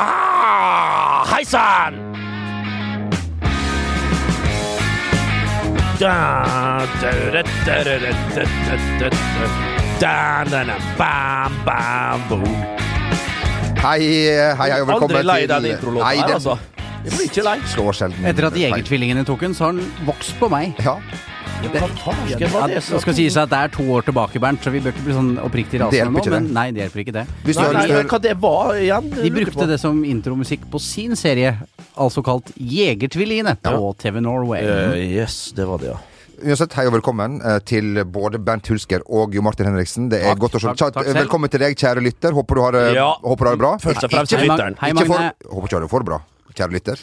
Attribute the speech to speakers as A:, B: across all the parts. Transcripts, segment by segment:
A: Ah, Jason! Da, da, da, da, da, da, da, da, da, da, da, da, da, bam, bam, boom.
B: Hei, hei, hei og velkommen
A: Aldri lei
B: til
A: den introlåten
B: Nei,
A: her,
B: den
A: altså. Jeg blir ikke lei.
B: Slår sjelden
C: Etter at
B: feil.
C: Jegertvillingene tok den, så har den vokst på meg.
B: Ja.
A: Hva farsken var
C: Det
A: det som
C: skal sies at det er to år tilbake, Bernt, så vi bør ikke bli sånn oppriktig
B: Det
C: rasende
B: hjelper
C: nå.
B: ikke
C: Men
B: det.
C: nei, det hjelper ikke det.
B: Hvis du
A: Nei,
B: har
A: nei,
B: lyst til å
A: hva det var igjen?
C: De brukte det som intromusikk på sin serie, altså kalt Jegertvillingene, på TV
A: Eh,
C: Norway. Mm.
A: yes, det var det, ja.
B: Uansett, hei og velkommen eh, til både Bernt Hulsker og Jo Martin Henriksen. Det er
C: Takk,
B: godt å se
C: takk, takk
B: Tja,
C: selv.
B: Velkommen til deg, kjære lytter. Håper du har, eh,
A: Ja.
B: håper du har det bra.
A: Først og fremst
B: Ikke-
A: til
C: Hei, Mag-
A: lytteren.
C: Hei,
B: ikke for,
C: Magne.
B: håper ikke du har det for bra, kjære lytter.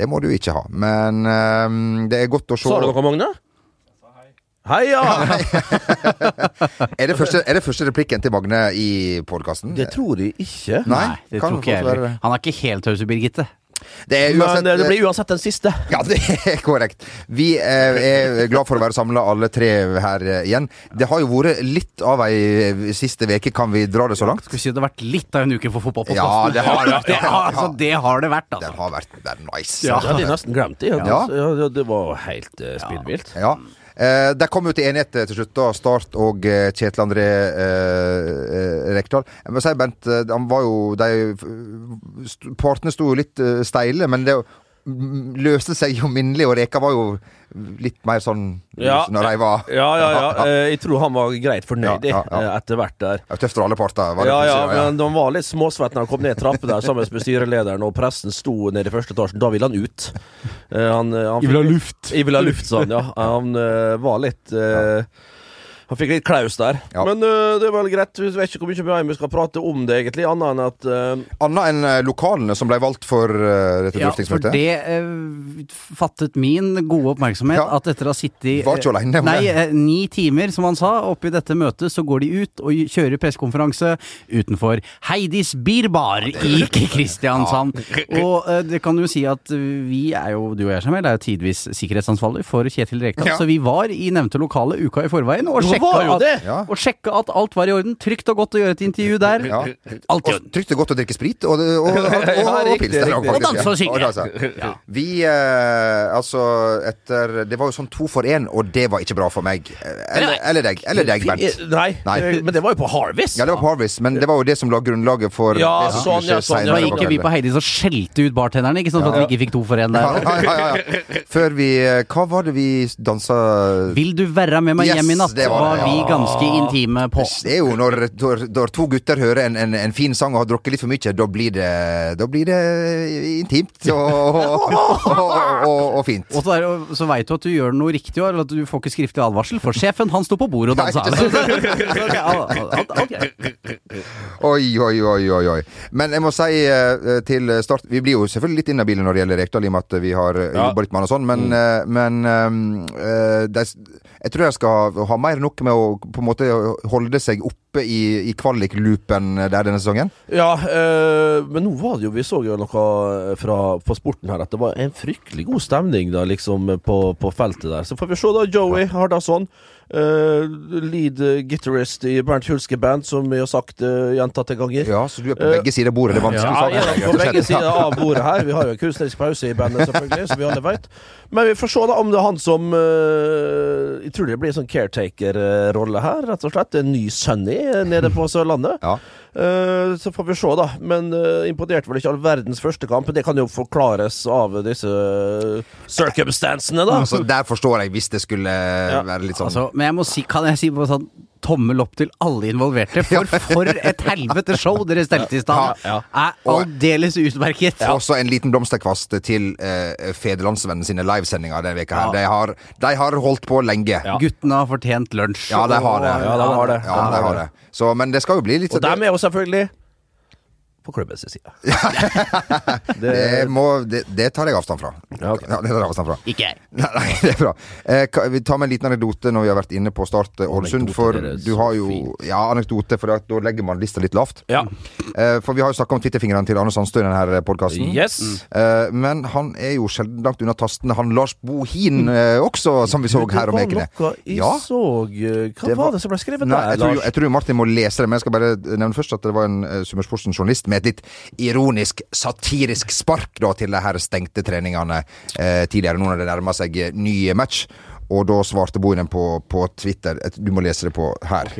B: Det må du ikke ha. Men eh, det er godt å se
A: Sa du noe, Magne? Hei, ja!
B: er, det første, er det første replikken til Magne i podkasten?
A: Det tror jeg ikke.
B: Nei,
C: Nei, det
B: kan
C: tror ikke jeg
B: godt være
C: heller. Han er ikke helt tause, Birgitte.
B: det. Det er uansett
A: Men eh, det blir uansett den siste.
B: Ja, det er korrekt. Vi eh, er glad for å være samla alle tre her eh, igjen. Det har jo vært litt av ei eh, siste veke, kan vi dra det så langt?
C: Skal vi si at det har vært litt av en uke for fotballpodkasten?
B: Ja, det har det.
C: det, har, altså, det har det vært,
B: Den
C: altså.
B: har vært det er nice. altså.
A: Ja, det hadde jeg nesten glemt. Det,
B: Ja.
A: ja, det var helt uh, spinnvilt.
B: Ja. Eh, de kom jo til enighet eh, til slutt, da. Start og eh, Kjetil André eh, eh, Rekdal. Jeg må si, Bent, eh, han var jo de, st- Partene sto jo litt eh, steile, men det mm, løste seg jo minnelig, og Reka var jo litt mer sånn
A: Ja.
B: når de var
A: Ja, ja, ja. Eh, Jeg tror han var greit fornøyd
B: Ja, ja, ja.
A: eh, etter hvert der.
B: Det var Tøft for alle parter. var det
A: Ja,
B: på
A: ja,
B: siden,
A: men de var litt småsvette når han kom ned trappa der sammen med styrelederen, og presten sto nede i første etasjen. Da ville han ut. Eh, Han, eh, han fikk-
C: luft.
A: Jeg vil ha luft, sa han. Ja. Han eh, var litt eh, Han fikk litt klaus der.
B: Ja.
A: Men eh, det er vel greit. Vi vet ikke hvor mye mer vi skal prate om det, egentlig, annet enn at eh,
B: Anna enn eh, lokalene som ble valgt for eh, dette
C: Ja, for
B: drøftingsmøtet.
C: det eh, fattet min gode oppmerksomhet
B: Ja.
C: at etter å ha sittet
B: Var ikke alene, men-
C: Nei, eh, ni timer, som han sa, oppi dette møtet, så går de ut og kjører pressekonferanse utenfor Heidis Birbar i Kristiansand. Og eh, det kan jo si at vi er jo, du og jeg, Samuel, er jo tidvis sikkerhetsansvarlig for Kjetil Rekdal,
B: Ja.
C: så vi var i nevnte lokale uka i forveien og
A: Jo,
C: sjekka
A: var jo
C: at,
A: det!
B: Ja.
C: og sjekka at alt var i orden. Trygt og godt å gjøre et intervju der.
B: Ja.
C: Alt i
B: Og
C: orden.
B: trygt og godt å drikke sprit, og, og, og, og, og,
A: Ja, riktig,
B: pils. der,
A: riktig.
B: faktisk,
C: Og danse
B: ja.
C: og synge.
B: danse. Vi eh, Altså, etter Det var jo sånn to for én, og det var ikke bra for meg. Eh, Eller, eller deg. Eller deg, Bernt.
A: Eh, Nei,
B: Nei.
A: eh, men det var jo på Harvest.
B: Ja, det var på Harvis, men det var jo det som la grunnlaget for
A: Ja,
B: det som skulle
A: sånn, ja,
B: skje
A: sånn, ja.
C: Da
B: senere
C: gikk jo vi
B: kvelden.
C: på Heidis og skjelte ut bartenderne, ikke sant, for at vi ikke fikk to for én der.
B: ja, ja, ja, ja. Før vi eh, Hva var det vi dansa
C: Vil du være med meg
B: Yes,
C: hjem i natt?
B: det
C: var,
B: var det,
C: vi
B: ja.
C: ganske intime på.
B: Det er jo når, når, når to gutter hører en, en, en fin sang og har drukket litt for mye, da blir det, da blir det intimt og, og, og, og, og fint.
C: Og så, er det jo- så veit du at du gjør noe riktig, eller at du får ikke skriftlig advarsel, for sjefen han sto på bordet og dansa.
B: Nei,
C: Så- ja, ok.
B: Oi, oi, oi, oi, oi. Men jeg må si eh, til start Vi blir jo selvfølgelig litt inhabile når det gjelder Rekdal, i og med at vi har ja.
A: Ja. Mm.
B: jobba litt med han og sånn, men, eh, men eh, de, jeg tror jeg skal ha mer enn nok med å på en måte holde seg oppe i, i kvalikloopen der denne sesongen.
A: Ja, eh, men nå var det jo Vi så jo noe eh, fra, på sporten her at det var en fryktelig god stemning da, liksom, på, på feltet der. Så får vi se, da. Joey Hardasson, eh, lead guitarist i Bernt Hulske Band, som vi har sagt eh, gjentatte ganger.
B: Ja, så du er på begge sider av bordet. Det er vanskelig
A: Ja,
B: å
A: ja,
B: savne deg, rett
A: på
B: og
A: begge
B: slett.
A: sider av bordet her. Vi har jo en kunstnerisk pause i bandet, selvfølgelig, som vi alle vet. Men vi får se da om det er han som eh, Jeg tror det blir en sånn caretaker-rolle her, rett og slett. En ny Sunny eh, nede på Sørlandet.
B: Ja.
A: Eh, så får vi se, da. Men eh, imponerte vel ikke all verdens første kamp. Men det kan jo forklares av disse eh, circumstancene, da.
B: Så Altså, der forstår jeg, hvis det skulle være litt sånn
C: Altså, men jeg må si, kan jeg si på sånn tommel opp til alle involverte, for for et helvete show dere stelte i stad!
A: Ja,
C: Er aldeles utmerket.
B: Også en liten blomsterkvast til eh, Federlandsvennen sine livesendinger denne veka her. De, har, de har holdt på lenge.
C: Guttene har fortjent lunsj.
B: Ja, de har det.
A: Ja, de har det.
B: Ja, de har det. Så, men det skal jo bli litt sånn.
A: Og dem er jo selvfølgelig på klubbens side. det,
B: det, må, det, det tar jeg avstand fra.
A: Ja, ok.
B: det tar jeg avstand fra.
C: Ikke jeg.
B: Nei, nei, det er bra. Eh, ka- vi tar med en liten anekdote når vi har vært inne på Start eh, Ålesund.
A: Anekdote,
B: For
A: det er
B: du
A: så
B: har jo
A: fint.
B: Ja, anekdote, for da, da legger man lista litt lavt.
A: ja.
B: Eh, for vi har jo snakka om Twitterfingrene til Arne Sandstø i denne podkasten.
A: Yes.
B: Eh, men han er jo sjelden langt unna tastene, han Lars Bohin eh, også, som vi så her om ukene.
A: Det var noe jeg
B: Ja.
A: så eh, Hva
B: Det
A: var,
B: var-
A: det som ble skrevet
B: Nei,
A: der,
B: jeg eh, tror,
A: Lars?
B: jeg tror Martin må lese det, men jeg skal bare nevne først at det var en uh, Summersportsen-journalist med et litt ironisk, satirisk spark da, til de her stengte treningene eh, tidligere, nå når det nærmer seg eh, ny match. Og da svarte Bohinen på, på Twitter et- Du må lese det på her.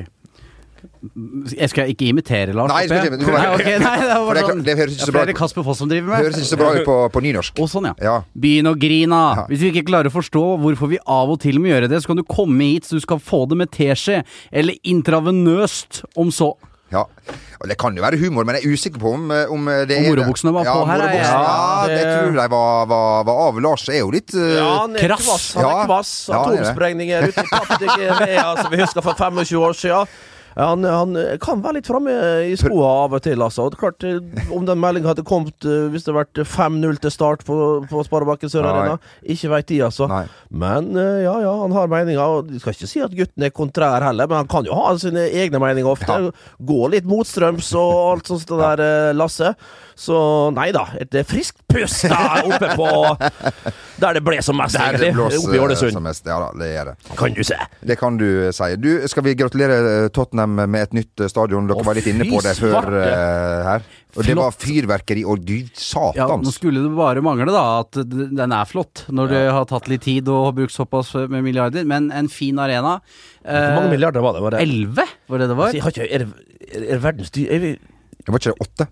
C: Jeg skal ikke imitere Lars.
B: Nei,
C: håper jeg.
B: du skal ikke-
C: Nei, ok, nei, det, var
B: For det er
C: bare sånn,
B: klart- det høres ikke så
C: Ja, for
B: bra
C: er det Kasper Foss som driver med.
B: Høres ikke så bra ut på, på nynorsk.
C: Å, sånn, ja.
B: Ja.
C: Begynn å grine!
B: Ja.
C: Hvis du ikke klarer å forstå hvorfor vi av og til må gjøre det, så kan du komme hit så du skal få det med teskje, eller intravenøst, om så.
B: Ja. Og det kan jo være humor, men jeg er usikker på om, eh, om det
C: Om
B: er
C: morobuksene var på her, er jeg-
B: morobuksene, Ja, det,
A: Ja, det-
B: tror jeg var, var, var av. Lars er jo litt eh,
A: Ja, han er
C: Krass.
A: kvass. Han
B: Ja.
A: er kvass.
B: Ja, han er det.
A: Atomsprengninger ute i fattige Guinea, som altså, vi husker for 25 år siden. Ja, Han, han kan være litt framme i skoa av og til, altså. Og det er klart, eh, om den meldinga hadde kommet eh, hvis det hadde vært 5-0 til start på, på Sparebanken Sør
B: Nei.
A: Arena, ikke veit de, altså.
B: Nei.
A: Men eh, ja, ja, han har meninger. Og jeg skal ikke si at gutten er kontrær heller, men han kan jo ha sine egne meninger ofte.
B: Ja.
A: Gå litt motstrøms og alt sånt det der, eh, Lasse. Så nei da, et eh, friskt pust da, oppe på Der det ble som mest,
B: der
A: egentlig.
B: det blåser,
A: Oppe i
B: eh, som
A: Ålesund,
B: mest. Ja da, det er det.
A: kan du se.
B: Det kan du eh, si. Du, skal vi gratulere eh, Tottenham med et nytt eh, stadion? Dere
A: Å,
B: var litt inne på
A: fy
B: det før
A: svarte.
B: eh, her. Og det var fyrverkeri og gud
C: Ja, nå
B: satans.
C: skulle det bare mangle da at d- den er flott, når det har tatt litt tid og har brukt såpass eh, med milliarder, men en fin arena. Eh,
A: Hvor
B: Eh,
A: mange milliarder var det? Var det?
C: Elleve, var det
B: Altså,
C: det var?
A: Jeg har ikke, er, det- er, er verdens dyr... Er vi,
B: Det var ikke det åtte?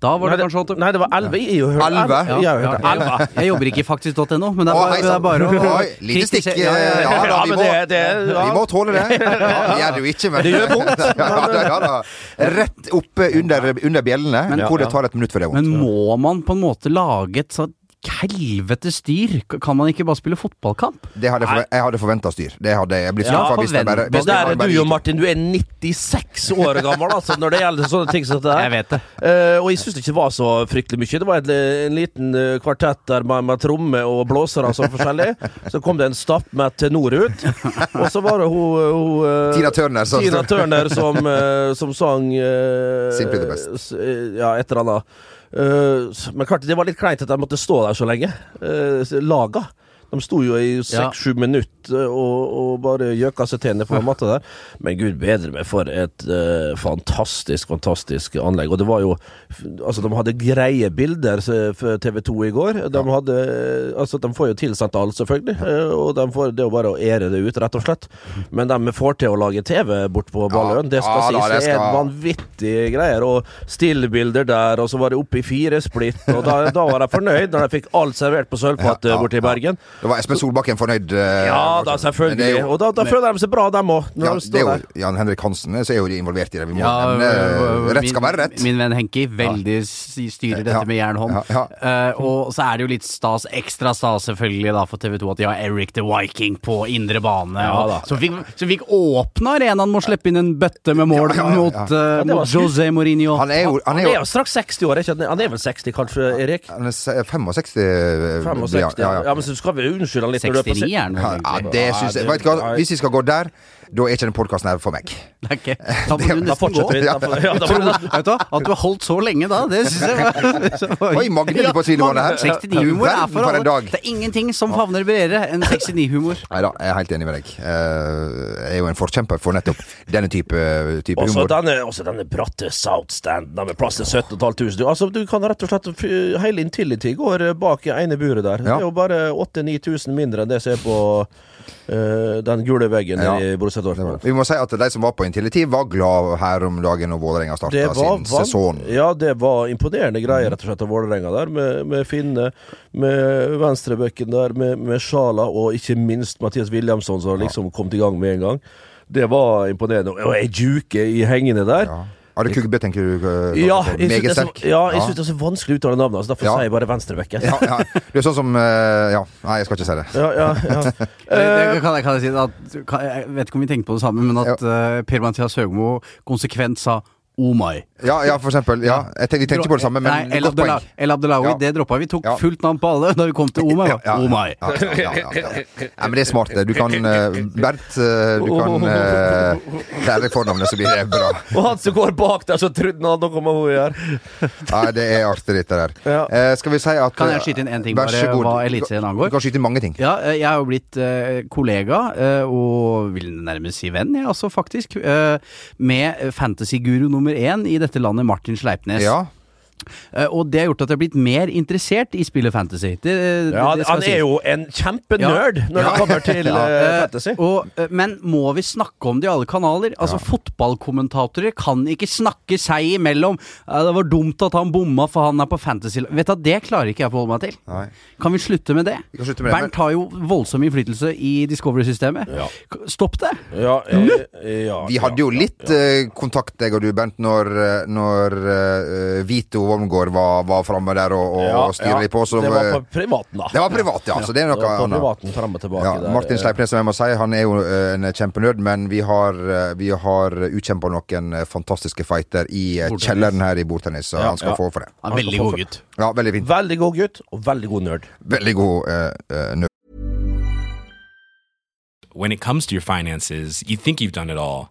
C: Da var det
A: nei,
C: kanskje åtte.
A: Nei, det var elleve. Jeg har jo hørt
B: Elleve?
A: elleve. Jeg har
C: Ja,
A: hørt
C: ja.
A: elleve.
C: Jeg jobber ikke i faktisk.no, men det er
B: Å,
C: bare,
B: hei,
C: det
B: sant.
C: er bare å
B: Oi, lite stikk,
C: kritisere- Ja, ja, ja.
B: ja, da, vi
A: men
B: må-
A: det, det, ja.
B: Vi må tåle det. Ja, det gjør det jo ikke, men det gjør vondt. Ja, da, ja, da. Rett oppe under, under bjellene, hvor det tar et minutt før det er vondt.
C: Men må man på en måte lage et sånt helvete styr? K- Kan man ikke bare spille fotballkamp?
B: Det hadde jeg, forve- jeg hadde forventa styr. Det hadde jeg blitt
C: Ja,
B: skuffa hvis det bare
C: forvent-
A: Men
B: hvis det
A: der er
B: bare-
A: du jo, Martin, du er 96 år gammel altså, når det gjelder sånne ting som det der.
C: vet det.
A: Eh, og jeg syns det ikke var så fryktelig mye. Det var et, en liten eh, kvartett der med, med tromme og blåsere og sånn forskjellig. Så kom det en stappmett tenor ut, og så var det hun, hun eh,
B: Tina Turner som-
A: Tina Turner som, eh, som sang eh,
B: Simply the best.
A: s- eh, Ja, et eller annet. Eh, s- men klart, det var litt kleint at de måtte stå der så lenge. Eh, s- laga. De sto jo i seks-sju minutter og, og bare gjøka seg til ned på den matta der. Men gud bedre meg for et eh, fantastisk, fantastisk anlegg. Og det var jo f- Altså, de hadde greie bilder se- for TV 2 i går. De hadde Altså, de får jo tilsendt alt, selvfølgelig. eh, Og de får det er jo bare å ære det ut, rett og slett. Men de får til å lage TV bort på Balløen. Det
B: ja da,
A: skal sies.
B: det
A: Det er
B: skal-
A: en vanvittige greier. Og stillbilder der, og så var det oppe i fire splitt. Og da, da var de fornøyd, når de fikk alt servert på sølvfat
B: Ja,
A: ja,
B: ja,
A: borte i
B: ja.
A: Bergen.
B: Da var Espen Solbakken fornøyd. eh,
A: Ja
B: Men
A: da,
B: det er
A: selvfølgelig.
B: jo-
A: Og da, da føler de seg bra, dem òg, når
B: ja, det
A: de
B: er
A: står der.
B: jo Jan Henrik Hansen eh, så er jo involvert i det. Vi må
C: Ja,
B: nevne
C: øh,
B: eh, Rett
C: min-
B: skal være rett.
C: Min venn Henki veldig s- styrer dette
B: Ja,
C: med jernhånd.
B: ja, ja.
C: Eh, og så er det jo litt stas, ekstra stas selvfølgelig da for TV 2 at de har Eric the Viking på indre bane.
A: Ja,
C: og-
A: da.
C: som, fikk, som fikk åpne arenaen med å slippe inn en bøtte med mål
B: Ja, ja, ja, ja.
C: mot, eh,
A: det var
C: mot
A: skutt.
C: José Mourinho.
B: Han er jo, han
A: Han
B: er
A: er
B: jo
A: jo straks 60 år, er ikke han? Han er vel 60 kanskje, Erik?
B: han er se- 65 eh,
A: 65,
B: ja, ja.
A: ja. Men så skal vi unnskylde han litt. når du er på
C: 69
A: si-
C: er han
B: Ja,
C: vel
B: ja,
C: egentlig.
B: det syns jeg Vet du hva, hvis vi skal gå der, da er ikke den podkasten her for meg.
C: Eh, Det er ikke Da må du
A: Da
C: nesten gå.
A: fortsetter vi. Da, får- ja, da,
C: Tror du det? Vet du hva? At du har holdt så lenge da, det syns jeg var
B: Oi, Magne er på sidemålet her.
C: 69-humor
B: Du
C: er
B: verden
C: for
B: for en
C: alle.
B: dag.
C: Det er ingenting som favner bredere enn 69-humor.
B: Nei da, jeg er helt enig med deg. Eh, Jeg er jo en forkjemper for nettopp denne type, type
A: Også
B: humor.
A: denne, også denne bratte Southstanden med plass til 17 500. Altså, du kan rett og slett fy- Hele Intility går eh, bak i ene buret der.
B: Ja.
A: Det er jo bare 8000-9000 mindre enn det som er på eh, den gule veggen
B: Ja.
A: i Borussia
B: Det var det.
A: Dortmund.
B: Vi må si at de som var på Intility, var glad her om dagen når Vålerenga
A: Det
B: starta
A: var,
B: sin
A: van-
B: sesong.
A: ja, det var imponerende greier, rett og slett, av Vålerenga der. Med, med Finne, med venstrebekken der, med, med Sjala og ikke minst Mathias Williamson, som liksom kom i gang med en gang. Det var imponerende. Og ei juke i hengene der.
B: Ja. Are Kugbe, tenker du? eh,
A: Ja,
B: på?
A: jeg syns det,
B: Meget
A: er så-
B: sterk.
A: ja, jeg synes det er så vanskelig å uttale navnet, altså derfor
B: Ja.
A: sier jeg bare venstrebekken.
B: ja, ja. Du er sånn som eh, Ja, nei, jeg skal ikke si det.
A: Ja, ja, ja.
C: Eh, Det kan jeg, kan jeg, si at, kan, jeg vet ikke om vi tenkte på det samme, men at eh, Per-Mathias Høgmo konsekvent sa Oh my.
B: Ja, ja, for eksempel. Ja. Jeg tenkte, vi tenkte på det samme, men
C: Nei, El
B: godt poeng.
C: Abdela- El Abdelawi,
B: Ja.
C: det droppa vi. Tok
B: Ja.
C: fullt navn på alle da vi kom til Oh my.
B: Ja, ja,
C: Oh my.
B: ja, ja, ja, ja, ja. Nei, men det er smart. det. Du kan eh, Bernt, eh, du kan uh, lære deg fornavnet, så blir det bra.
A: Og han som går bak der, så trodde han noe om henne å gjøre.
B: Nei, det er artig, dette der.
A: Ja.
B: Eh, skal vi si at
C: Kan jeg skyte inn en ting,
B: Vær så
C: bare,
B: god.
C: hva Eliteserien
B: Du
C: angår?
B: kan skyte inn mange ting.
C: Ja, eh, jeg er jo blitt eh, kollega, eh, og vil nærmest si venn, jeg altså, faktisk, eh, med fantasyguru nummer én i dette landet, Martin Sleipnes.
B: Ja.
C: Eh, Og det har gjort at jeg har blitt mer interessert i spillet fantasy. Det, det,
A: Ja,
C: det skal
A: han
C: sies.
A: er jo en kjempenerd når
C: Ja.
A: det kommer til
C: Ja.
A: eh,
C: Eh,
A: fantasy.
C: og, eh, men må vi snakke om det i alle kanaler? Altså Fotballkommentatorer kan ikke snakke seg imellom. Eh, det var dumt at han bomma, for han er på fantasy Vet du, hva, Det klarer ikke jeg å forholde meg til.
B: Nei.
C: Kan vi slutte med det?
B: Vi kan slutte med det, men-
C: Bernt har jo voldsom innflytelse i Discovery-systemet.
A: Ja.
C: K- Stopp det!
A: Ja, ja, ja,
B: Vi hadde jo
A: ja,
B: litt
A: ja.
B: eh, kontakt, jeg og du, Bent, når, eh, når eh, Vito Wormgård var, var framme der og, og,
A: Ja,
B: og styra
A: ja.
B: litt på. Så,
A: Det var på
B: eh,
A: privaten, da.
B: det var privat, ja. Så det er
A: Det
B: noe
A: var på
B: annet.
A: privaten frem og tilbake.
B: Ja,
A: der, eh,
B: Martin Sleipnes, som jeg må si, han er jo eh, en kjempenerd, men vi har, eh, vi har utkjempa noen eh, fantastiske fighter i eh,
C: Bordtennis.
B: kjelleren her i bordtennis, så
A: Ja,
B: han skal
A: ja.
B: få for det.
C: Han
A: Han
C: er
A: skal
C: veldig
A: få-
C: god gutt.
B: Ja, veldig fint.
A: Veldig god gutt, og veldig god nerd.
B: Veldig god eh, eh, nerd.
D: when it comes to your finances, you think you've done it all.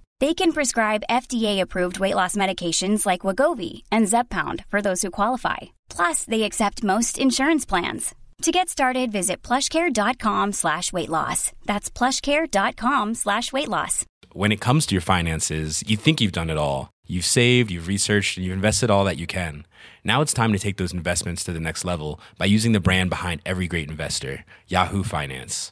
E: They can prescribe FDA-approved weight loss medications like Wagovi and Zepbound for those who qualify. Plus, they accept most insurance plans. To get started, visit plushcare.com slash weight loss. That's plushcare.com slash weight loss.
D: When it comes to your finances, you think you've done it all. You've saved, you've researched, and you've invested all that you can. Now it's time to take those investments to the next level by using the brand behind every great investor, Yahoo Finance.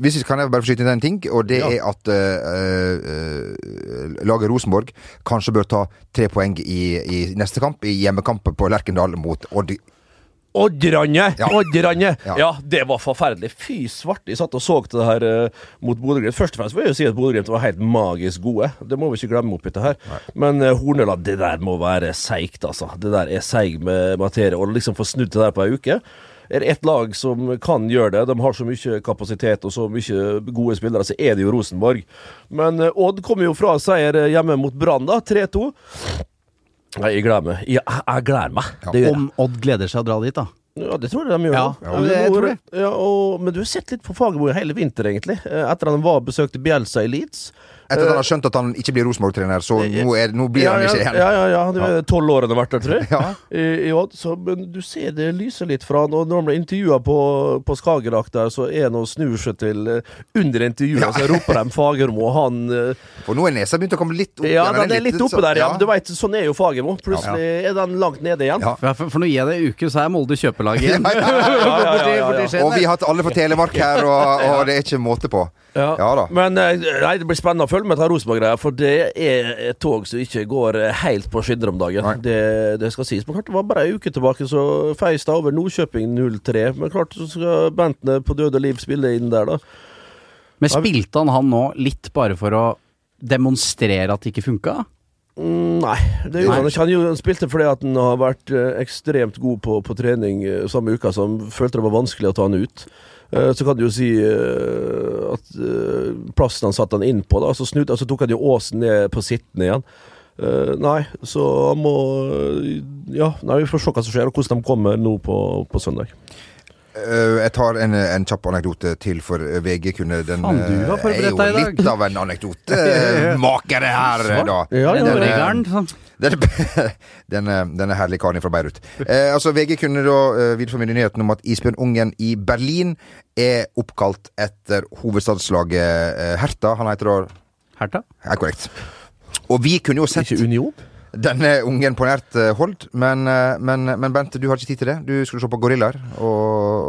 B: Hvis vi kan jeg bare få skyte inn en ting, og det
A: Ja.
B: er at eh, eh, laget Rosenborg kanskje bør ta tre poeng i, i neste kamp, i hjemmekampen på Lerkendal mot Odd.
A: Oddrande!
B: Ja.
A: Oddrande! Ja.
B: Ja.
A: det var forferdelig. Fy svarte, jeg satt og så til det her eh, mot Bodø-Glimt. Først og fremst vil jeg jo si at Bodø-Glimt var helt magisk gode. Det må vi ikke glemme oppi det her. Men uh, Hornøla, det der må være seigt, altså. Det der er seig med materie. Å liksom få snudd det der på ei uke. Er det ett lag som kan gjøre det, de har så mye kapasitet og så mye gode spillere, så er det jo Rosenborg. Men eh, Odd kom jo fra seier eh, hjemme mot Brann, da. 3-2. Nei, jeg gleder meg. Jeg, jeg gleder meg. Det gjør jeg.
C: Om Odd gleder seg å dra dit, da.
A: Ja, det tror jeg de gjør.
C: Ja,
A: da.
C: ja, det- jeg tror det.
A: Ja, og, men du har sett litt på Fagermo i hele vinter, egentlig. Eh, Etter at han var og besøkte Bjelsa i Leeds.
B: Etter at han har skjønt at han ikke blir Rosenborg-trener, så nå, er, nå blir
A: Eh, ja,
B: han
A: ja,
B: ikke
A: Ja,
B: igjen.
A: ja, ja. Det er tolv år han har vært der, tror jeg.
B: Ja.
A: I, i Odd. Så, men du ser det lyser litt fra han. Og når han ble intervjua på, på Skagerrak der, så er han og snur seg til eh, Under intervjuet så roper de Fagermo, og han eh,
B: For nå er nesa begynt å komme litt opp.
A: Ja,
B: igjen,
A: den er litt oppe der, ja. Men du
B: var...
A: veit, sånn er jo Fagermo. Plutselig er den langt nede igjen.
B: Ja.
C: For, for når jeg er det uke, så er Molde kjøpelag igjen.
B: Ja, ja,
A: ja, ja, ja.
C: Borti- borti Skien
B: Og vi
C: der.
B: har hatt alle fra Telemark her, og, og det er ikke måte på.
A: Ja.
B: Ja da.
A: Men eh, nei, det blir spennende å følge med på Rosenborg-greia, for det er et tog som ikke går eh, helt på skinner om dagen.
B: Nei.
A: Det, det skal sies. Men klart, det var bare ei uke tilbake, så feis det over Nordkjøping 03. Men klart så skal Bentene på døde liv spille inn der, da.
C: Men spilte han han nå litt bare for å demonstrere at det ikke funka?
A: Mm, Nei, det
C: Nei.
A: gjorde han ikke. Han, gjorde- han spilte fordi at han har vært eh, ekstremt god på, på trening eh, samme uka, så han følte det var vanskelig å ta han ut. Eh, Så kan du jo si altså eh, at eh, plassen han satte han inn på, da, så, snudde, han, så tok han jo Åsen ned på sittende igjen. Eh, nei, så han må eh, Ja, nei, vi får se hva som skjer, og hvordan de kommer nå på, på søndag.
B: Eh, jeg tar en, en kjapp anekdote til, for VG kunne den
C: Faen, du har
B: eh,
C: forberedt
B: er jo
C: deg i dag.
B: litt av en anekdotemakere her, eh, da.
A: Ja, ja,
C: Den
A: ja.
C: regelen, sånn.
B: Denne, denne, denne herlige karen fra Beirut. Eh, altså, VG kunne da eh, videreformidle nyheten om at isbjørnungen i Berlin er oppkalt etter hovedstadslaget eh, Hertha. Han heter da
C: Herta?
B: Er korrekt. Og vi kunne jo sett
A: Ikke Union?
B: denne ungen på nært eh, hold, men, eh, men, men Bent, du har ikke tid til det. Du skulle se på gorillaer, og,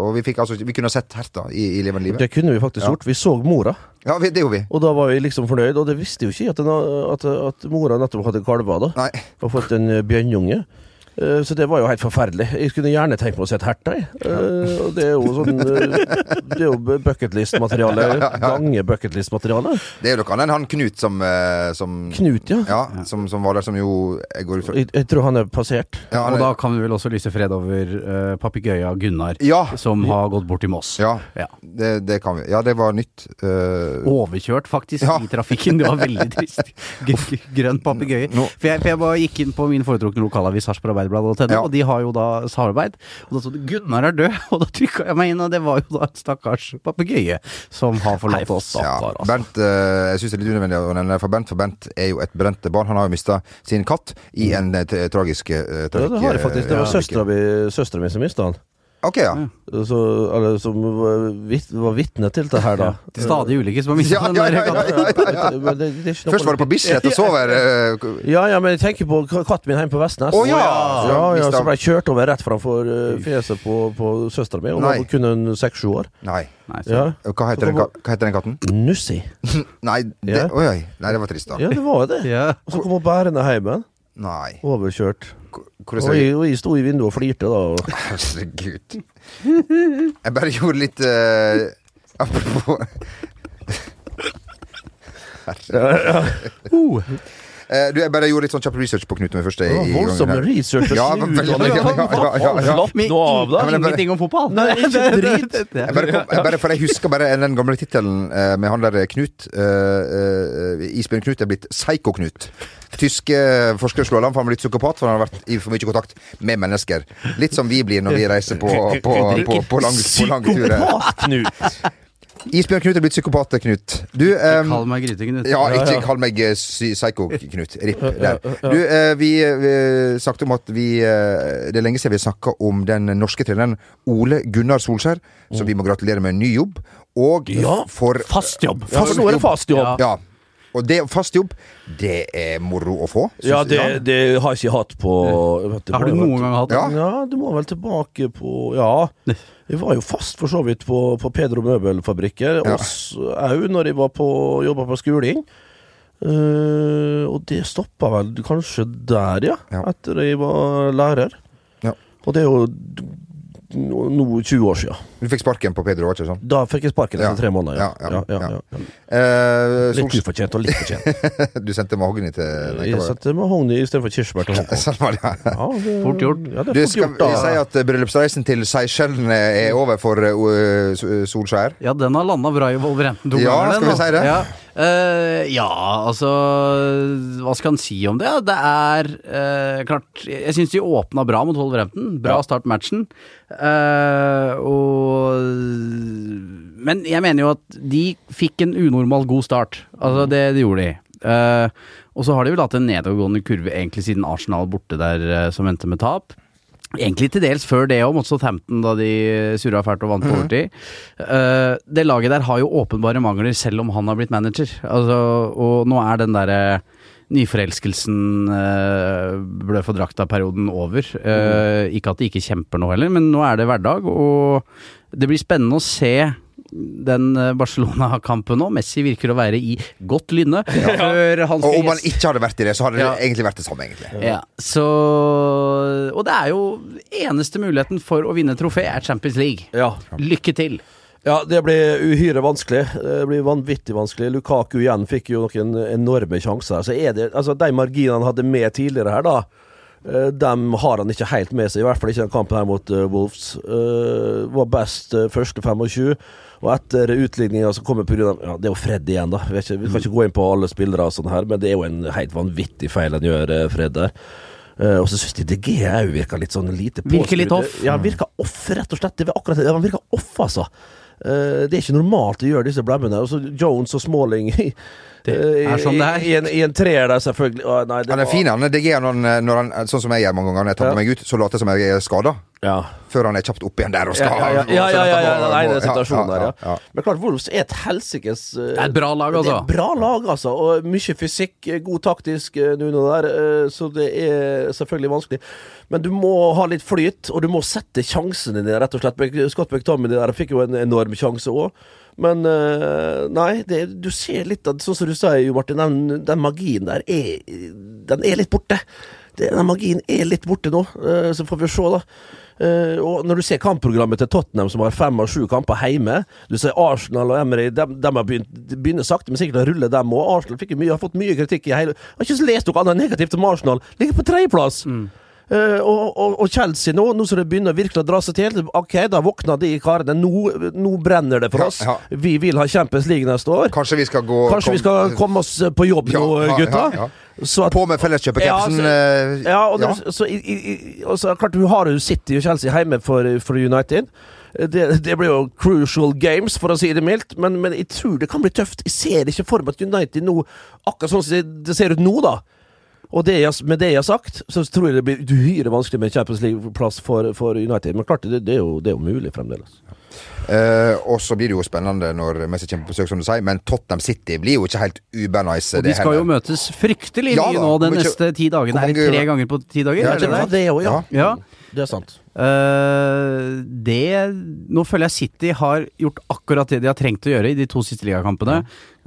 B: og vi, fikk, altså, vi kunne ha sett Hertha i, i levende livet.
A: Det kunne vi faktisk
B: Ja.
A: gjort. Vi så mora,
B: Ja, vi, det gjorde vi.
A: og da var vi liksom fornøyd. Og det visste jo ikke at, den, at, at mora nettopp hadde kalver, da.
B: Nei.
A: Og fått en eh, bjørnunge. Eh, Så det var jo helt forferdelig. Jeg kunne gjerne tenkt meg å se et herta. jeg. Eh, Og det er jo sånn eh, Det er jo bucketlist-materiale. Gange bucketlist-materiale.
B: Det er jo noe annet enn han Knut som, eh, som
A: Knut, ja.
B: Ja, som, som var der, som jo jeg går ut fra
A: Jeg, jeg tror han er passert.
B: ja, han
C: Og
B: er-
C: da kan vi vel også lyse fred over uh, papegøyen Gunnar,
B: Ja.
C: som har gått bort i Moss.
B: Ja,
C: Ja.
B: det, det kan vi. Ja, det var nytt. eh,
C: Overkjørt, faktisk,
B: Ja.
C: i trafikken. Det var veldig trist. Gr- Grønn papegøye.
B: Nå-
C: For, jeg- for jeg bare gikk inn på min foretrukne lokalavis Sarpsborg Arbeiderblad og TNO,
B: Ja.
C: og de har jo da samarbeid. Og da sto det 'Gunnar er død', og da trykka jeg meg inn, og det var jo da en stakkars papegøye som har forlatt
A: Nei,
C: oss.
B: ja.
A: Stakkar, altså.
B: Bent, eh, jeg syns det er litt unødvendig å nevne det for Bent, for Bent er jo et brent barn. Han har jo mista sin katt i en eh, t- tragisk uh,
A: Mm. Ja, det har jeg faktisk. Det var
B: ja,
A: søstera mi, søstera mi Mm. som mista han.
B: Ok, ja.
A: Så, eller, som var vit- var vitne til det her, da.
C: Stadig ulike som har mista
B: Ja,
C: den
B: ja, ja,
C: der
B: ja,
C: katten.
B: ja, ja, ja.
A: Men det- det er ikke noe-
B: Først var det på Bislett, og så var det eh,
A: Ja, ja, men jeg tenker på k- katten min hjemme på Vestnes.
B: Å, ja!
A: ja, ja,
B: Mista-
A: Så ble jeg kjørt over rett framfor eh, fjeset på, på søstera mi. Hun var
B: Nei.
A: kun en seks-sju år.
B: Nei.
C: Nei, så-
A: Ja.
B: Hva heter, den, ka- hva heter den katten?
A: Nussi.
B: Nei, det,
A: Ja.
B: oi, oi. Nei, det var trist, da.
A: Ja, det var jo det.
C: Ja.
A: Og så kom hun bærende hjem igjen.
B: Nei.
A: Overkjørt.
B: Hvordan
A: Og
B: ser
A: jeg, og jeg sto i vinduet og flirte, da. Og
B: Herregud. Jeg bare gjorde litt eh, Apropos
C: Uh,
B: Eh, du, Jeg bare gjorde litt sånn kjapp research på Knut med først.
A: Det var voldsom research.
B: Ja, veldig, ja, ja, ja, ja, ja.
A: Slapp
C: men
A: nå av,
B: Ja,
A: da.
B: men det bare-
C: ingenting om fotball!
A: Nei, ikke drit.
C: Det- det-
B: Jeg, bare kom, jeg, bare, for jeg husker bare den gamle tittelen eh, med han der Knut. eh, Uh, Isbjørn-Knut er blitt Psycho-Knut. Tyske forskere slår alarm for han er blitt psykopat for han har vært i for mye kontakt med mennesker. Litt som vi blir når vi reiser på, på, på, på, lang, på lange turer.
A: Psykopat-Knut.
B: Isbjørn-Knut er blitt psykopat, Knut. Du, eh,
C: Kall meg Gryteknut.
B: ja, ikke kall meg eh, sy- psycho-Knut. Ripp der. Du, eh, vi, vi snakket om at vi eh, Det er lenge siden vi snakka om den norske treneren Ole Gunnar Solskjær, som vi må gratulere med en ny jobb. Og
A: Ja,
B: for
C: Fast jobb!
A: Ja, for nå er det fast jobb.
B: Ja. Og det, fast jobb, det er moro å få. synes
A: Ja,
B: jeg.
A: det, det har jeg ikke hatt på vet
C: Har du
A: må
C: noen
A: jo vet-
C: gang hatt det?
B: Ja.
A: Ja, du må vel tilbake på Ja. Jeg var jo fast for så vidt på, på Pedro Møbelfabrikker,
B: Ja.
A: og òg når jeg var på jobba på Skuling. Eh, og det stoppa vel kanskje der, ja,
B: Ja.
A: etter jeg var lærer.
B: Ja.
A: Og det er jo d- nå nå 20 år sia.
B: Du fikk sparken på Pedro, var ikke sant?
A: Da fikk jeg sparken
B: Ja.
A: etter tre måneder. Ja.
B: Ja,
A: Ja,
B: ja,
A: ja,
B: ja.
A: ja,
B: Eh,
A: Litt
B: Solskjær,
A: ufortjent og litt fortjent.
B: du sendte mahogni til nei, hva
A: Jeg
B: var det?
A: satte med Hogni istedenfor kirsebær til Hongkong.
B: Sånn var det, ja.
A: Ja, det-
C: Fort gjort.
A: Ja, det
B: Du,
A: er fort
B: skal
A: gjort,
B: vi
A: da.
B: si at eh, bryllupsreisen til Seychellen eh, er over for eh, o- eh, Solskjær?
C: Ja, den har landa bra i Wolverhampton to
B: Ja,
C: ganger. den,
B: skal vi
C: da.
B: si det?
C: Ja. Eh, ja, altså Hva skal en si om det? Det er eh, klart Jeg syns de åpna bra mot Wolverhampton. Bra start på matchen. Eh, og Men jeg mener jo at de fikk en unormal god start.
B: Mm.
C: Altså, det, det gjorde de. Eh, og så har de vel hatt en nedadgående kurve egentlig siden Arsenal borte der, eh, som endte med tap. Egentlig til dels før det òg, mot Southampton da de surra fælt og vant
B: Mhm.
C: på overtid. Eh, det laget der har jo åpenbare mangler, selv om han har blitt manager. Altså, og nå er den derre nyforelskelsen uh, blø for drakta-perioden over. Eh, Ikke at de ikke kjemper nå heller, men nå er det hverdag, og det blir spennende å se den eh, Barcelona-kampen nå. Messi virker å være i godt lynne. Før han
B: Og
C: skal
B: om han
C: gjeste-
B: ikke hadde vært i det, så hadde
C: Ja.
B: det egentlig vært det samme, egentlig.
C: ja, så Og det er jo eneste muligheten for å vinne trofé er Champions League.
A: Ja.
C: Lykke til.
A: Ja, det blir uhyre vanskelig. Det blir vanvittig vanskelig. Lukaku igjen fikk jo noen enorme sjanser. Så er det, altså De marginene han hadde med tidligere her, da Eh, Dem har han ikke helt med seg, i hvert fall ikke den kampen her mot eh, Wolves. Eh, var best eh, første 25, og etter utligninga som kommer pga. Ja, det er jo Fred igjen, da. Vi, er ikke, vi kan ikke gå inn på alle spillere og sånn her, men det er jo en helt vanvittig feil han gjør, eh, Fred der. Eh, og så syns de DG òg virker litt sånn lite
C: Virker
A: påskrudd.
C: litt off.
A: Ja, han virker off, rett og slett. Det var akkurat det. Han virker off, altså. Eh, det er ikke normalt å gjøre disse blemmene. Og så Jones og Smalling i, eh,
C: er sånn det er.
A: i, i, en, i en treer der, selvfølgelig. Å, nei, det
B: Han er
A: var-
B: fin, han. Det gir han eh, når han, sånn som jeg gjør mange ganger når jeg tar
A: Ja.
B: meg ut, så later jeg som jeg er skada.
A: Ja.
B: Før han er kjapt opp igjen der og
A: Ja,
B: skal
A: ja, ja, ja, ja, ja, ja, nei, det er situasjonen
B: Ja,
A: der,
B: ja,
A: ja.
B: ja.
A: Men klart, Wolves er et helsikes eh,
C: Det er et bra lag,
A: Det
C: altså.
A: er et bra lag, altså. Og mye fysikk, eh, god taktisk eh, Nuno der, eh, så det er selvfølgelig vanskelig. Men du må ha litt flyt, og du må sette sjansene dine, rett og slett. Mc- Scott McTominay der fikk jo en enorm sjanse òg. Men eh, nei, det, du ser litt av Sånn som du sier, Jo Martin, den, den magien der er Den er litt borte. Det, den magien er litt borte nå, eh, så får vi se, da. Eh, og når du ser kampprogrammet til Tottenham, som har fem av sju kamper hjemme Du ser Arsenal og Emery, dem, dem har begynt, de begynner sakte, men sikkert å rulle dem òg. Arsenal fikk jo mye, har fått mye kritikk i hele Har ikke lest noe annet negativt om Arsenal. Ligger på tredjeplass!
B: Mm.
A: Eh, og, og, og Chelsea nå, nå som det begynner virkelig å dra seg til Ok, da våkna de karene. Nå, nå brenner det for
B: Ja,
A: oss.
B: ja.
A: Vi vil ha Champions League neste år.
B: Kanskje vi skal gå
A: Kanskje vi skal komme oss på jobb
B: Ja,
A: nå,
B: ja,
A: gutta?
B: ja, ja.
A: Så at-
B: På med felleskjøperkepsen.
A: Ja, så, ja, og
B: ja.
A: når- så i, i, i, og så er det klart du har jo City og Chelsea hjemme for, for United. Det, det blir jo crucial games, for å si det mildt, men, men jeg tror det kan bli tøft. Jeg ser ikke for meg at United nå, akkurat sånn som det- det ser ut nå, da og det jeg, med det jeg har sagt, så tror jeg det blir uhyre vanskelig med en Champions League-plass for, for United. Men klart, det, det, er jo, det er jo mulig fremdeles.
B: Eh, og så blir det jo spennende når Messi kommer på besøk, som du sier, men Tottenham City blir jo ikke helt ubernice.
C: Og de skal jo møtes fryktelig
B: Ja
C: mye
B: da,
C: nå de
B: hvor mye-
C: neste ti dagene.
B: hvor
C: Er det
B: mange-
C: tre ganger på ti dager?
B: Ja,
C: er det
B: det er
C: det?
A: det òg, ja.
C: Ja.
A: Det er sant.
C: Eh, det Nå føler jeg City har gjort akkurat det de har trengt å gjøre i de to siste ligakampene.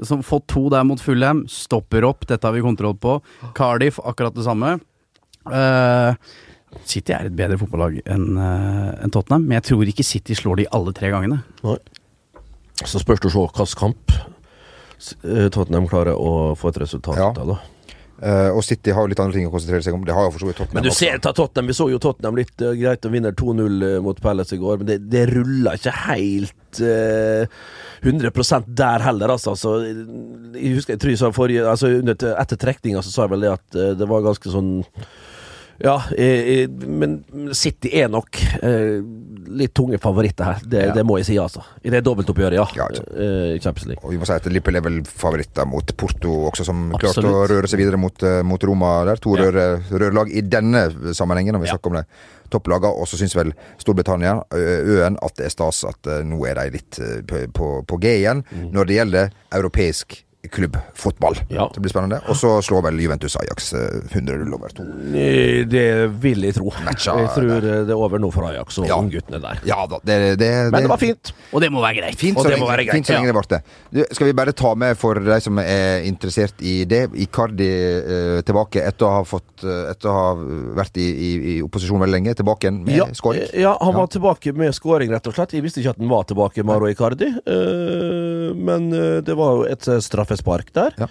C: Som fått to der mot Fulham, stopper opp, dette har vi kontroll på. Cardiff, akkurat det samme. Eh, City er et bedre fotballag enn eh, enn Tottenham, men jeg tror ikke City slår de alle tre gangene.
A: Så spørs det å se hvilken kamp eh, Tottenham klarer å få et resultat
B: Ja.
A: ut av, da.
B: Eh, og City har jo litt andre ting å konsentrere seg om. Det har jo for så vidt Tottenham.
A: Men du
B: også.
A: ser ta Tottenham, Vi så jo Tottenham litt eh, greit og vinner 2-0 eh, mot Palace i går, men det, det ruller ikke helt eh, 100 der heller, altså. altså. Jeg husker jeg tror jeg sa forrige altså, under, Etter trekninga så sa jeg vel det at eh, det var ganske sånn ja, eh, eh, men City er nok eh, litt tunge favoritter her. Det, det må jeg si, altså. I det dobbeltoppgjøret, ja.
B: Ja, ikke
A: ja
B: sant.
A: eh, Champions League.
B: Og vi må si at Lippel er vel favoritter mot Porto også, som klarte å
C: Absolutt.
B: røre seg videre mot, eh, mot Roma der. To røre- rørlag i denne sammenhengen, når vi snakker om de topplagene. Og så syns vel Storbritannia, ø- øen, at det er stas at eh, nå er de litt eh, på, på, på G igjen når det gjelder europeisk klubbfotball.
A: Ja.
B: Det blir spennende. Og så slår vel Juventus Ajax eh, 100-0 over to.
A: Eh, Det vil jeg tro. Jeg
B: Matcha
A: tror eh, det er over nå for Ajax og
B: Ja.
A: ungguttene der.
B: Ja da, det, det, det
A: Men det var fint.
C: Og det må være greit.
B: Fint så,
A: Og det må
B: lenge,
A: være greit,
B: fint så
A: ja.
B: lenge det varte. Du, skal vi bare ta med for de som er interessert i det, Icardi eh, tilbake etter å ha, fått, eh, etter å ha vært i, i, i opposisjon veldig lenge, tilbake igjen med
A: Ja,
B: skåring?
A: eh, ja, han
B: Ja.
A: var tilbake med scoring, rett og slett. Jeg visste ikke at han var tilbake, Maro Icardi. Eh, men eh, det var jo et eh, straffespark der.
B: Ja.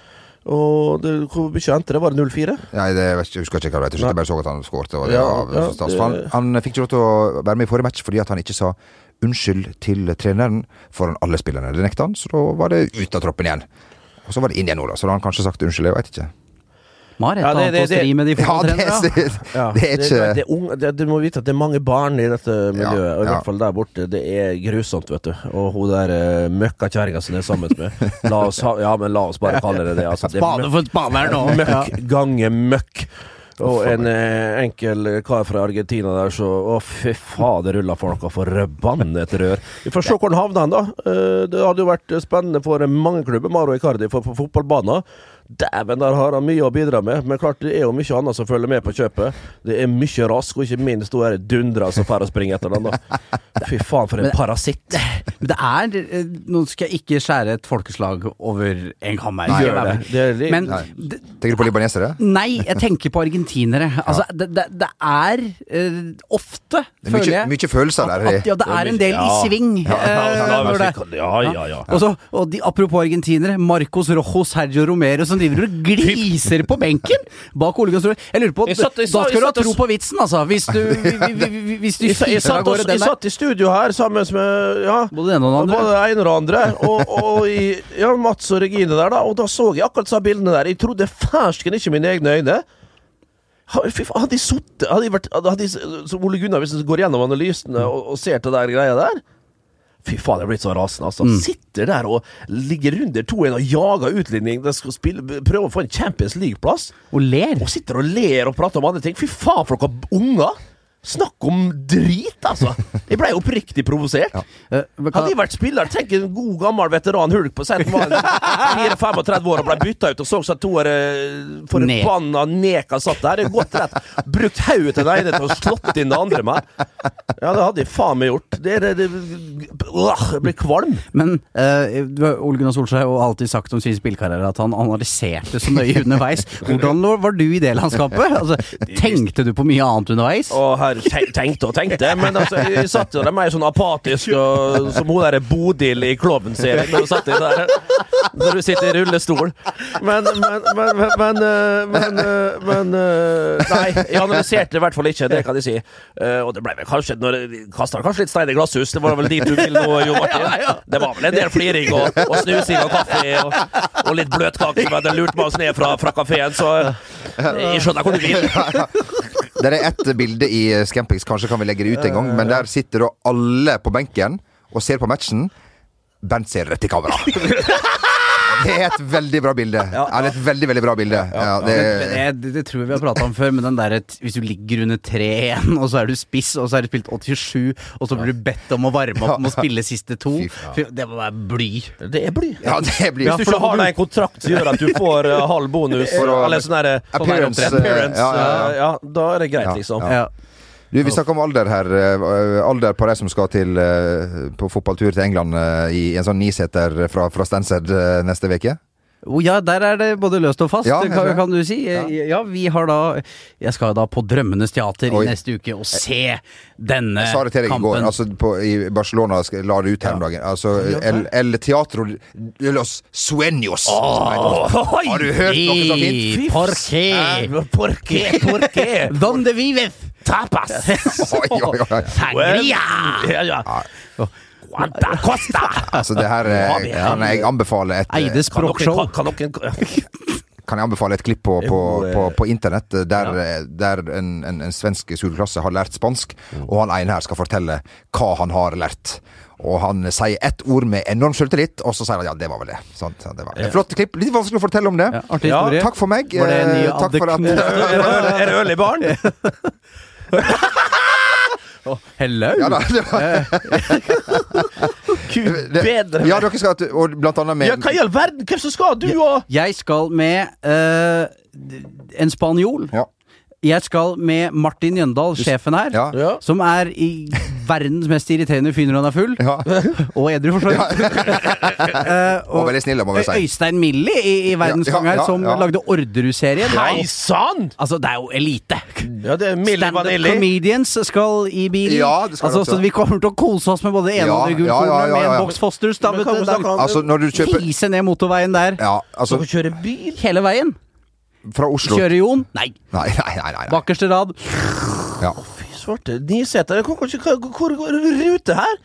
A: Og det, hvor mye endte det? Var det 0-4?
B: Nei, det vet ikke- jeg husker ikke hva det het. Jeg synes jeg bare så at han skårte. og det
A: Ja,
B: var
A: ja,
B: så stas. For han,
A: det-
B: han fikk ikke lov til å være med i forrige match fordi at han ikke sa unnskyld til treneren foran alle spillerne. Det nekta han, så da var det ut av troppen igjen. Og så var det inn igjen nå, da. Så da har han kanskje sagt unnskyld, jeg veit ikke.
C: Mar et
A: Ja, det-
C: annet å
A: det- det-
C: stri med de
B: Ja, det,
C: fotballtrenerne. da.
B: det, det er
A: det, det
B: ikke
A: er unge- det, Du må vite at det er mange barn i dette miljøet, og i
B: ja.
A: hvert fall der borte. Det er grusomt, vet du. Og hun der uh, møkkakjerringa som jeg er sammen med. La oss ha, ja, men la oss bare kalle det det. Altså, det er
C: Spade for spade her nå. Ja.
A: Møkk gange møkk. Og en eh, enkel kar fra Argentina der, så Å, fy fader, rulla for noe forbannet rør. Vi får se hvor han havna, da. Eh, Det hadde jo vært spennende for eh, mange klubber, Maro Icardi, for på fotballbanen. Dæven, der har han mye å bidra med. Men klart, det er jo mye annet som følger med på kjøpet. Det er mye rask, og ikke minst hun derre dundra som drar og springer etter den, da. Fy faen, for en parasitt.
C: Men Det er eh, Nå skal jeg ikke skjære et folkeslag over en kam her.
A: Gjør
C: skal jeg være
A: det. Det er litt-
C: Men
B: Nei.
C: det,
B: Tenker du på libanesere?
C: Nei, jeg tenker på argentinere. Altså, det, det, det er eh, ofte,
B: Det er
C: føler
B: mye,
C: jeg
B: mye følelser der.
C: at, ja, det er en del i
A: Ja.
C: sving.
A: Ja,
C: eh,
A: ja,
C: når det-
A: ja, ja, ja.
C: Og så- og de, apropos argentinere, Marcos Rojo, Sergio Romero, så som driver og gliser på benken bak Ole Gunnar Solskjær. Jeg lurer på,
A: Jeg satt- jeg sa-
C: Da
A: jeg
C: skal du ha
A: satt og-
C: tro på vitsen, altså! Hvis du, vi- vi- vi- vi- hvis du
A: Jeg, sa-
C: fyrer
A: jeg,
C: av
A: satt,
C: gårde
A: også,
C: den
A: jeg
C: der.
A: satt i studio her sammen med ja,
C: Både det ene og det andre.
A: både det ene og det andre. Og, og i, ja, Mats og Regine der, da. Og da så jeg akkurat disse bildene der. Jeg trodde fersken ikke mine egne øyne. Ha- Fy faen, hadde de sittet Hadde de vært hadde de, Som Ole Gunnar, hvis han går gjennom analysene og, og ser til den greia der Fy faen, jeg er blitt så rasende, altså.
C: Mm.
A: Sitter der og ligger under 2-1 og jager utligning. De skal spille, prøve å få en Champions League-plass.
C: Og ler.
A: Og sitter og ler og prater om andre ting. Fy faen, for noen unger! Snakk om drit, altså! Jeg blei oppriktig provosert.
C: Eh, men kan-
A: Hadde jeg vært spiller, tenk en god gammel veteran Hulk på sent var 34-35 år og ble bytta ut og så seg to år eh, forbanna neka satt der. Det er Godt rett. Brukt hodet til den ene til å slått inn det andre med. Ja, det hadde jeg faen meg gjort. Det, det, det, Åh, jeg blir kvalm.
C: Men eh, du har- Ole Gunnar Solskjær har jo alltid sagt om sin spillkarriere at han analyserte så nøye underveis. Hvordan lo- var du i det landskapet? Altså, tenkte du på mye annet underveis?
A: Å, herre, tenk- tenkte og tenkte, men altså, jeg, jeg satt jo der mer sånn apatisk og, som hun der Bodil i Klovn-serien. Når, hun satt i der, når du sitter i rullestol. Men, men, men, men, men, øh, men, øh, men øh, Nei, jeg analyserte i hvert fall ikke, det kan jeg si. Eh, og det ble vel kanskje når Kasta kanskje litt stein i glasshus, det var vel dit du ville nå, Jo Martin? Det var vel en del fliring og, og snusing og kaffe og, og litt bløtkake som hadde lurt meg oss ned fra, fra kafeen, så eh, jeg skjønner hvor du vil.
B: Det er ett bilde i eh, Scampix, kanskje kan vi legge det ut en gang, men der sitter da alle på benken og ser på matchen. Bernt ser rett i kamera. Det er et veldig bra bilde. Ja, det er et veldig, veldig bra bilde. Ja, det,
C: Det, det, det tror jeg vi har prata om før, men den derre t- hvis du ligger under 3-1, og så er du spiss, og så er du spilt 87, og så blir du bedt om å varme opp med å spille siste to. Fy, Det må være bly.
A: Det er bly.
B: ja, det blir
A: Hvis du ikke har deg en kontrakt som gjør at du får eh, halv bonus,
B: For å-
A: eller sånn derre
B: Appearance,
A: sånn der appearance,
B: eh, ja, ja, ja.
A: eh, ja, da er det greit,
B: Ja,
A: liksom.
C: Ja.
B: Du, Vi snakker om alder her. eh, Alder på de som skal til eh, på fotballtur til England eh, i en sånn niseter fra, fra Stansted eh, neste uke.
C: Å ja, der er det både løst og fast,
B: Ja, jeg tror
C: kan,
B: det.
C: kan du si. Eh, Ja. vi har da Jeg skal da på Drømmenes teater
B: Oi.
C: i neste uke og se denne
B: Jeg sa det til deg i går.
C: Eh, kampen.
B: Altså, på, I Barcelona sk- la det ut her om dagen. Altså, El, El Teatro de los Sueños.
A: Ohoi!
B: Har du hørt noe så fint?
C: Fy Por
A: Eh,
C: qué?
A: Por qué? Por qué?
C: Donde vives? Tapas!
B: Oi, oi, oi.
A: Well,
C: Sangria!
A: ja, ja. Quanta costa!
B: Altså, det her eh, kan jeg anbefale et,
C: Eide
A: Kan dere,
C: språkshow.
A: kan, kan dere
B: kan jeg anbefale et klipp på, på,
A: Jo,
B: på,
A: eh.
B: på internett eh, der, eh, der en, en, en svensk skoleklasse har lært spansk, og han ene her skal fortelle hva han har lært. Og han sier ett ord med enorm selvtillit, og så sier han ja, det var vel det. Sant? Ja, det var. det. Flott klipp. Litt vanskelig å fortelle om det.
C: Ja, artig
A: Ja,
C: historie.
B: Takk for meg.
C: Var det en ny
B: Eh, Takk for
C: adekvot?
B: at
A: Er det- Er det øl i baren?
C: Hello!
B: ja, da, det var,
A: Gud bedre
B: ja, dere skal til- Og blant annet med
A: Ja, hva i all verden? Hvem som skal? Du og
C: Jeg skal med eh, en spanjol.
B: Ja.
C: Jeg skal med Martin Jøndal, sjefen her,
B: Ja.
A: Ja.
C: som er i verdens mest irriterende fyr når han er full.
B: Ja.
C: Og edru, for så vidt. Eh,
B: Og veldig snill, da, må vi si.
C: Øystein Millie i, i Verdens
B: Ja, ja,
C: Gang her,
B: ja,
C: som
B: ja.
C: lagde Orderud-serien.
A: Hei sann!
C: Altså, det er jo elite!
A: Ja, det er Milli
C: Stand-up
A: Vanilli.
C: comedians skal i bilen.
B: Ja, det skal
C: altså,
B: det også.
C: så vi kommer til å kose oss med både det ene
B: Ja,
C: og det andre
B: ja,
C: gullkornet,
B: ja, ja,
C: med
B: ja.
C: en boks Fosters. Da,
A: Men
C: vet
A: kan
C: du,
A: vi snakke
C: da,
A: om-
B: Altså, når du kjøper
C: fise ned motorveien der.
B: Ja, altså
A: Dere kjører bil?
C: Hele veien.
B: Fra Oslo
C: Kjøre Jon. Nei.
B: Nei, nei, nei. nei, nei.
C: Bakerste rad.
B: Ja.
A: Svarte Niseter, hvor, hvor, hvor, hvor rute her?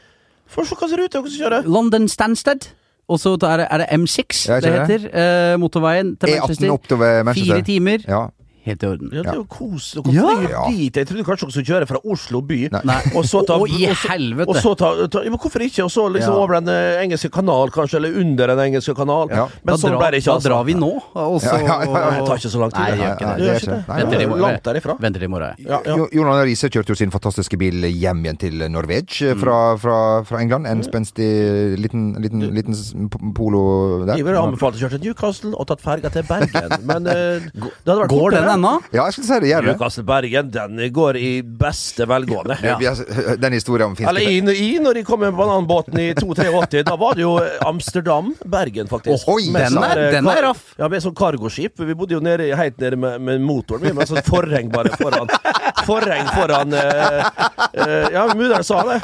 A: Få se hvilken rute dere kjører.
C: London Stansted. Og så er det, er det M6
B: Ja, jeg
C: det
B: tror
C: heter. Eh, motorveien til
B: E18
C: Manchester.
B: opp til eh, Manchester.
C: Fire timer.
B: Ja.
C: Helt i orden.
A: Ja, det er jo kos. Dere
C: Ja.
A: flyr
B: Ja.
A: dit. Jeg trodde kanskje dere skulle kjøre fra Oslo by.
C: Nei.
A: Og så ta,
C: Å, i
A: og så-
C: helvete.
A: Og så ta, ta ja, men Hvorfor ikke? Og så liksom
C: Ja.
A: over den eh, engelske kanal, kanskje, eller under den engelske kanal.
B: Ja.
A: Men
C: da
A: sånn
C: dra-
A: ble det ikke.
C: Da drar vi nå, og så
B: Ja, ja, ja, ja.
A: Det tar ikke så lang tid.
C: Nei, det gjør
A: Nei,
C: ikke
A: nei,
C: det.
B: det gjør
A: det gjør ikke
B: ikke det. Nei,
A: det.
C: Venter i
A: Det er jo
C: morgen.
A: langt derifra.
C: Venter i morgen.
A: Ja, ja.
B: Jo- Jon Arne Riise kjørte jo sin fantastiske bil hjem igjen til Norvège eh, fra,
A: Mm.
B: fra, fra England. En spenstig liten, liten, liten s- p- polo der.
A: Jeg ville anbefalt å kjøre til Newcastle og tatt ferga til Bergen, men eh, det hadde vært
C: Går
A: kortere.
C: den ennå?
B: Ja, jeg skulle si det. Gjør det.
A: Lukas Bergen, den går i beste velgående.
B: Vi har- Den historien om
A: Eller
B: finske
A: i, i når de kom med bananbåten i 283, da var det jo eh, Amsterdam, Bergen faktisk.
B: Ohoi,
A: Med
C: den
A: sånn
C: er-
A: der, eh,
C: den er
A: kar-
C: raff.
A: Ja, med sånn cargoskip. Vi bodde jo nede, helt nede med, med motoren min, med sånn forheng bare foran. Forheng foran eh, eh, Ja, mudder'n sa det.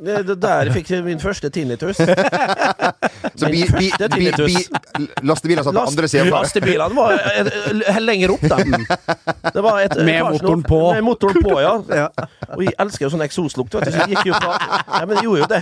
A: det. det Der fikk jeg min første tinnitus.
B: Så bi,
A: Min
B: bi, bi,
A: første
B: bi,
A: tinnitus.
B: lastebilen satt på
A: Last-
B: andre siden av det.
A: Lastebilene var eh, eh, lenger opp, dem. Det var et eh,
C: Med
A: etasjen
C: motoren
A: opp-
C: på.
A: Med motoren på, ja.
C: Ja.
A: Og jeg elsker jo sånn eksoslukt, vet du. Så jeg gikk jo fra Ja, men jeg gjorde jo det.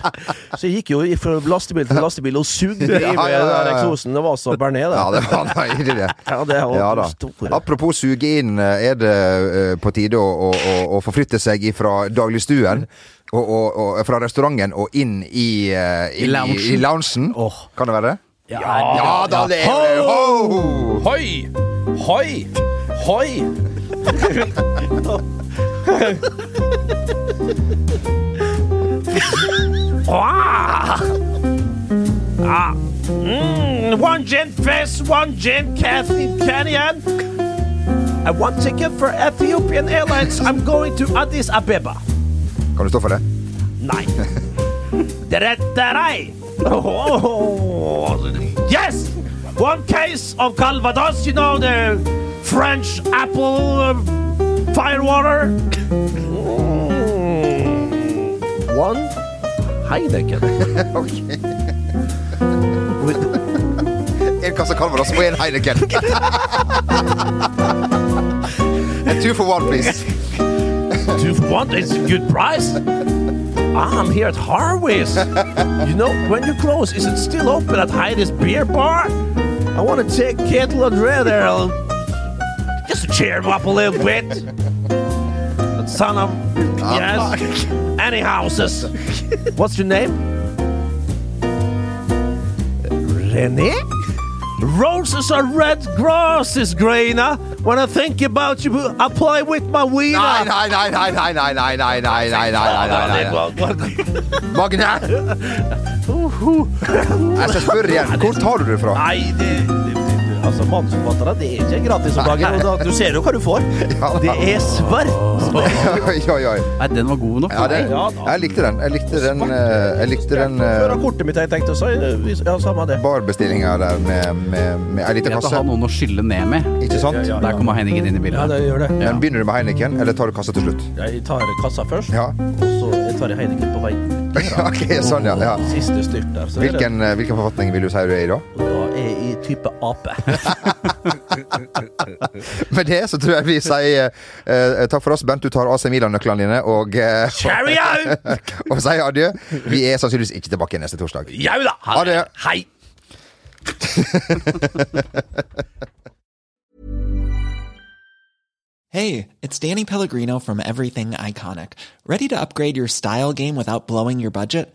A: Så jeg gikk jo fra lastebil til lastebil og sugde i
B: Ja, ja,
A: med den
B: ja,
A: der
B: ja.
A: eksosen. Det var så Bernet,
B: Ja,
A: det.
B: det var nøyelig, det.
A: Ja, det var
B: Ja da.
A: store.
B: Apropos suge inn, er det eh, på tide å, å, å, å forflytte seg fra dagligstuen og, og, og fra restauranten og inn i, eh,
C: I
B: inn
C: loungen.
B: i, i loungen?
C: Åh.
B: Kan det være det?
C: Ja,
B: da, det er ho!
A: Hoi! Hoi! Hoi! ah! Ah. Mm, one gin fizz, one gin Kathy Canyon. I want ticket for Ethiopian Airlines. I'm going to Addis Abeba.
B: Kan du stå for det?
A: Nei. Dretterei! Oh, yes! One case of Calvados, you know, the French apple uh, firewater. One Heineken.
B: En kasse Calvados og en Heineken. Two for one, please.
A: Two for one is a good price. I'm here at Harvey's. You know, when you close, is it still open at Heidi's Beer Bar? I want to take Kettle Andre there. I'll just to cheer him up a little bit. That Son of. Yes. Any houses. What's your name? René? Roses are red, grass is greener. When I think about you, I play with my wiener.
B: Nei, nei, nei, nei, nei, nei, nei, nei, nei, nei, nei, nei, nei. Magne! Jeg skal spørre igjen. Hvor tar du det fra?
A: Nei, det, det, det Altså, mannsforfattere, det er ikke gratis om dagen. Og da, du ser jo hva du får. Det er svart.
B: Oi, oi, oi.
C: Nei, den var god nok.
B: Ja, det,
A: Ja, da.
B: jeg likte den. Jeg likte den, eh, jeg likte den eh,
A: Før av kortet mitt, har jeg tenkte, så er det ja, samme det.
B: barbestillinga der med, med, med ei lita
C: Greit å
B: kasse.
C: ha noen å skylle ned med.
B: Ikke sant?
C: Der kommer Henningen inn i
A: Ja,
C: bildet.
A: det gjør det.
B: Men begynner du med Heineken, eller tar du kassa til slutt?
A: Jeg tar kassa først,
B: Ja.
A: og så jeg tar jeg Heineken på vei ut.
B: Ja, ok, sånn, ja. ja.
A: Siste styrt der. Så er det-
B: Hvilken, eh, hvilken forfatning vil du si du er i da?
A: Da er jeg i type ape.
B: Med det så tror jeg vi sier eh, eh, takk for oss. Bent, du tar AC Milan-nøklene dine og, eh,
A: Cheerio!
B: og sier adjø. Vi er sannsynligvis ikke tilbake neste torsdag.
A: Jau da!
B: Ha det.
A: Hei!
F: Hey, it's Danny Pellegrino from Everything Iconic. Ready to upgrade your style game without blowing your budget?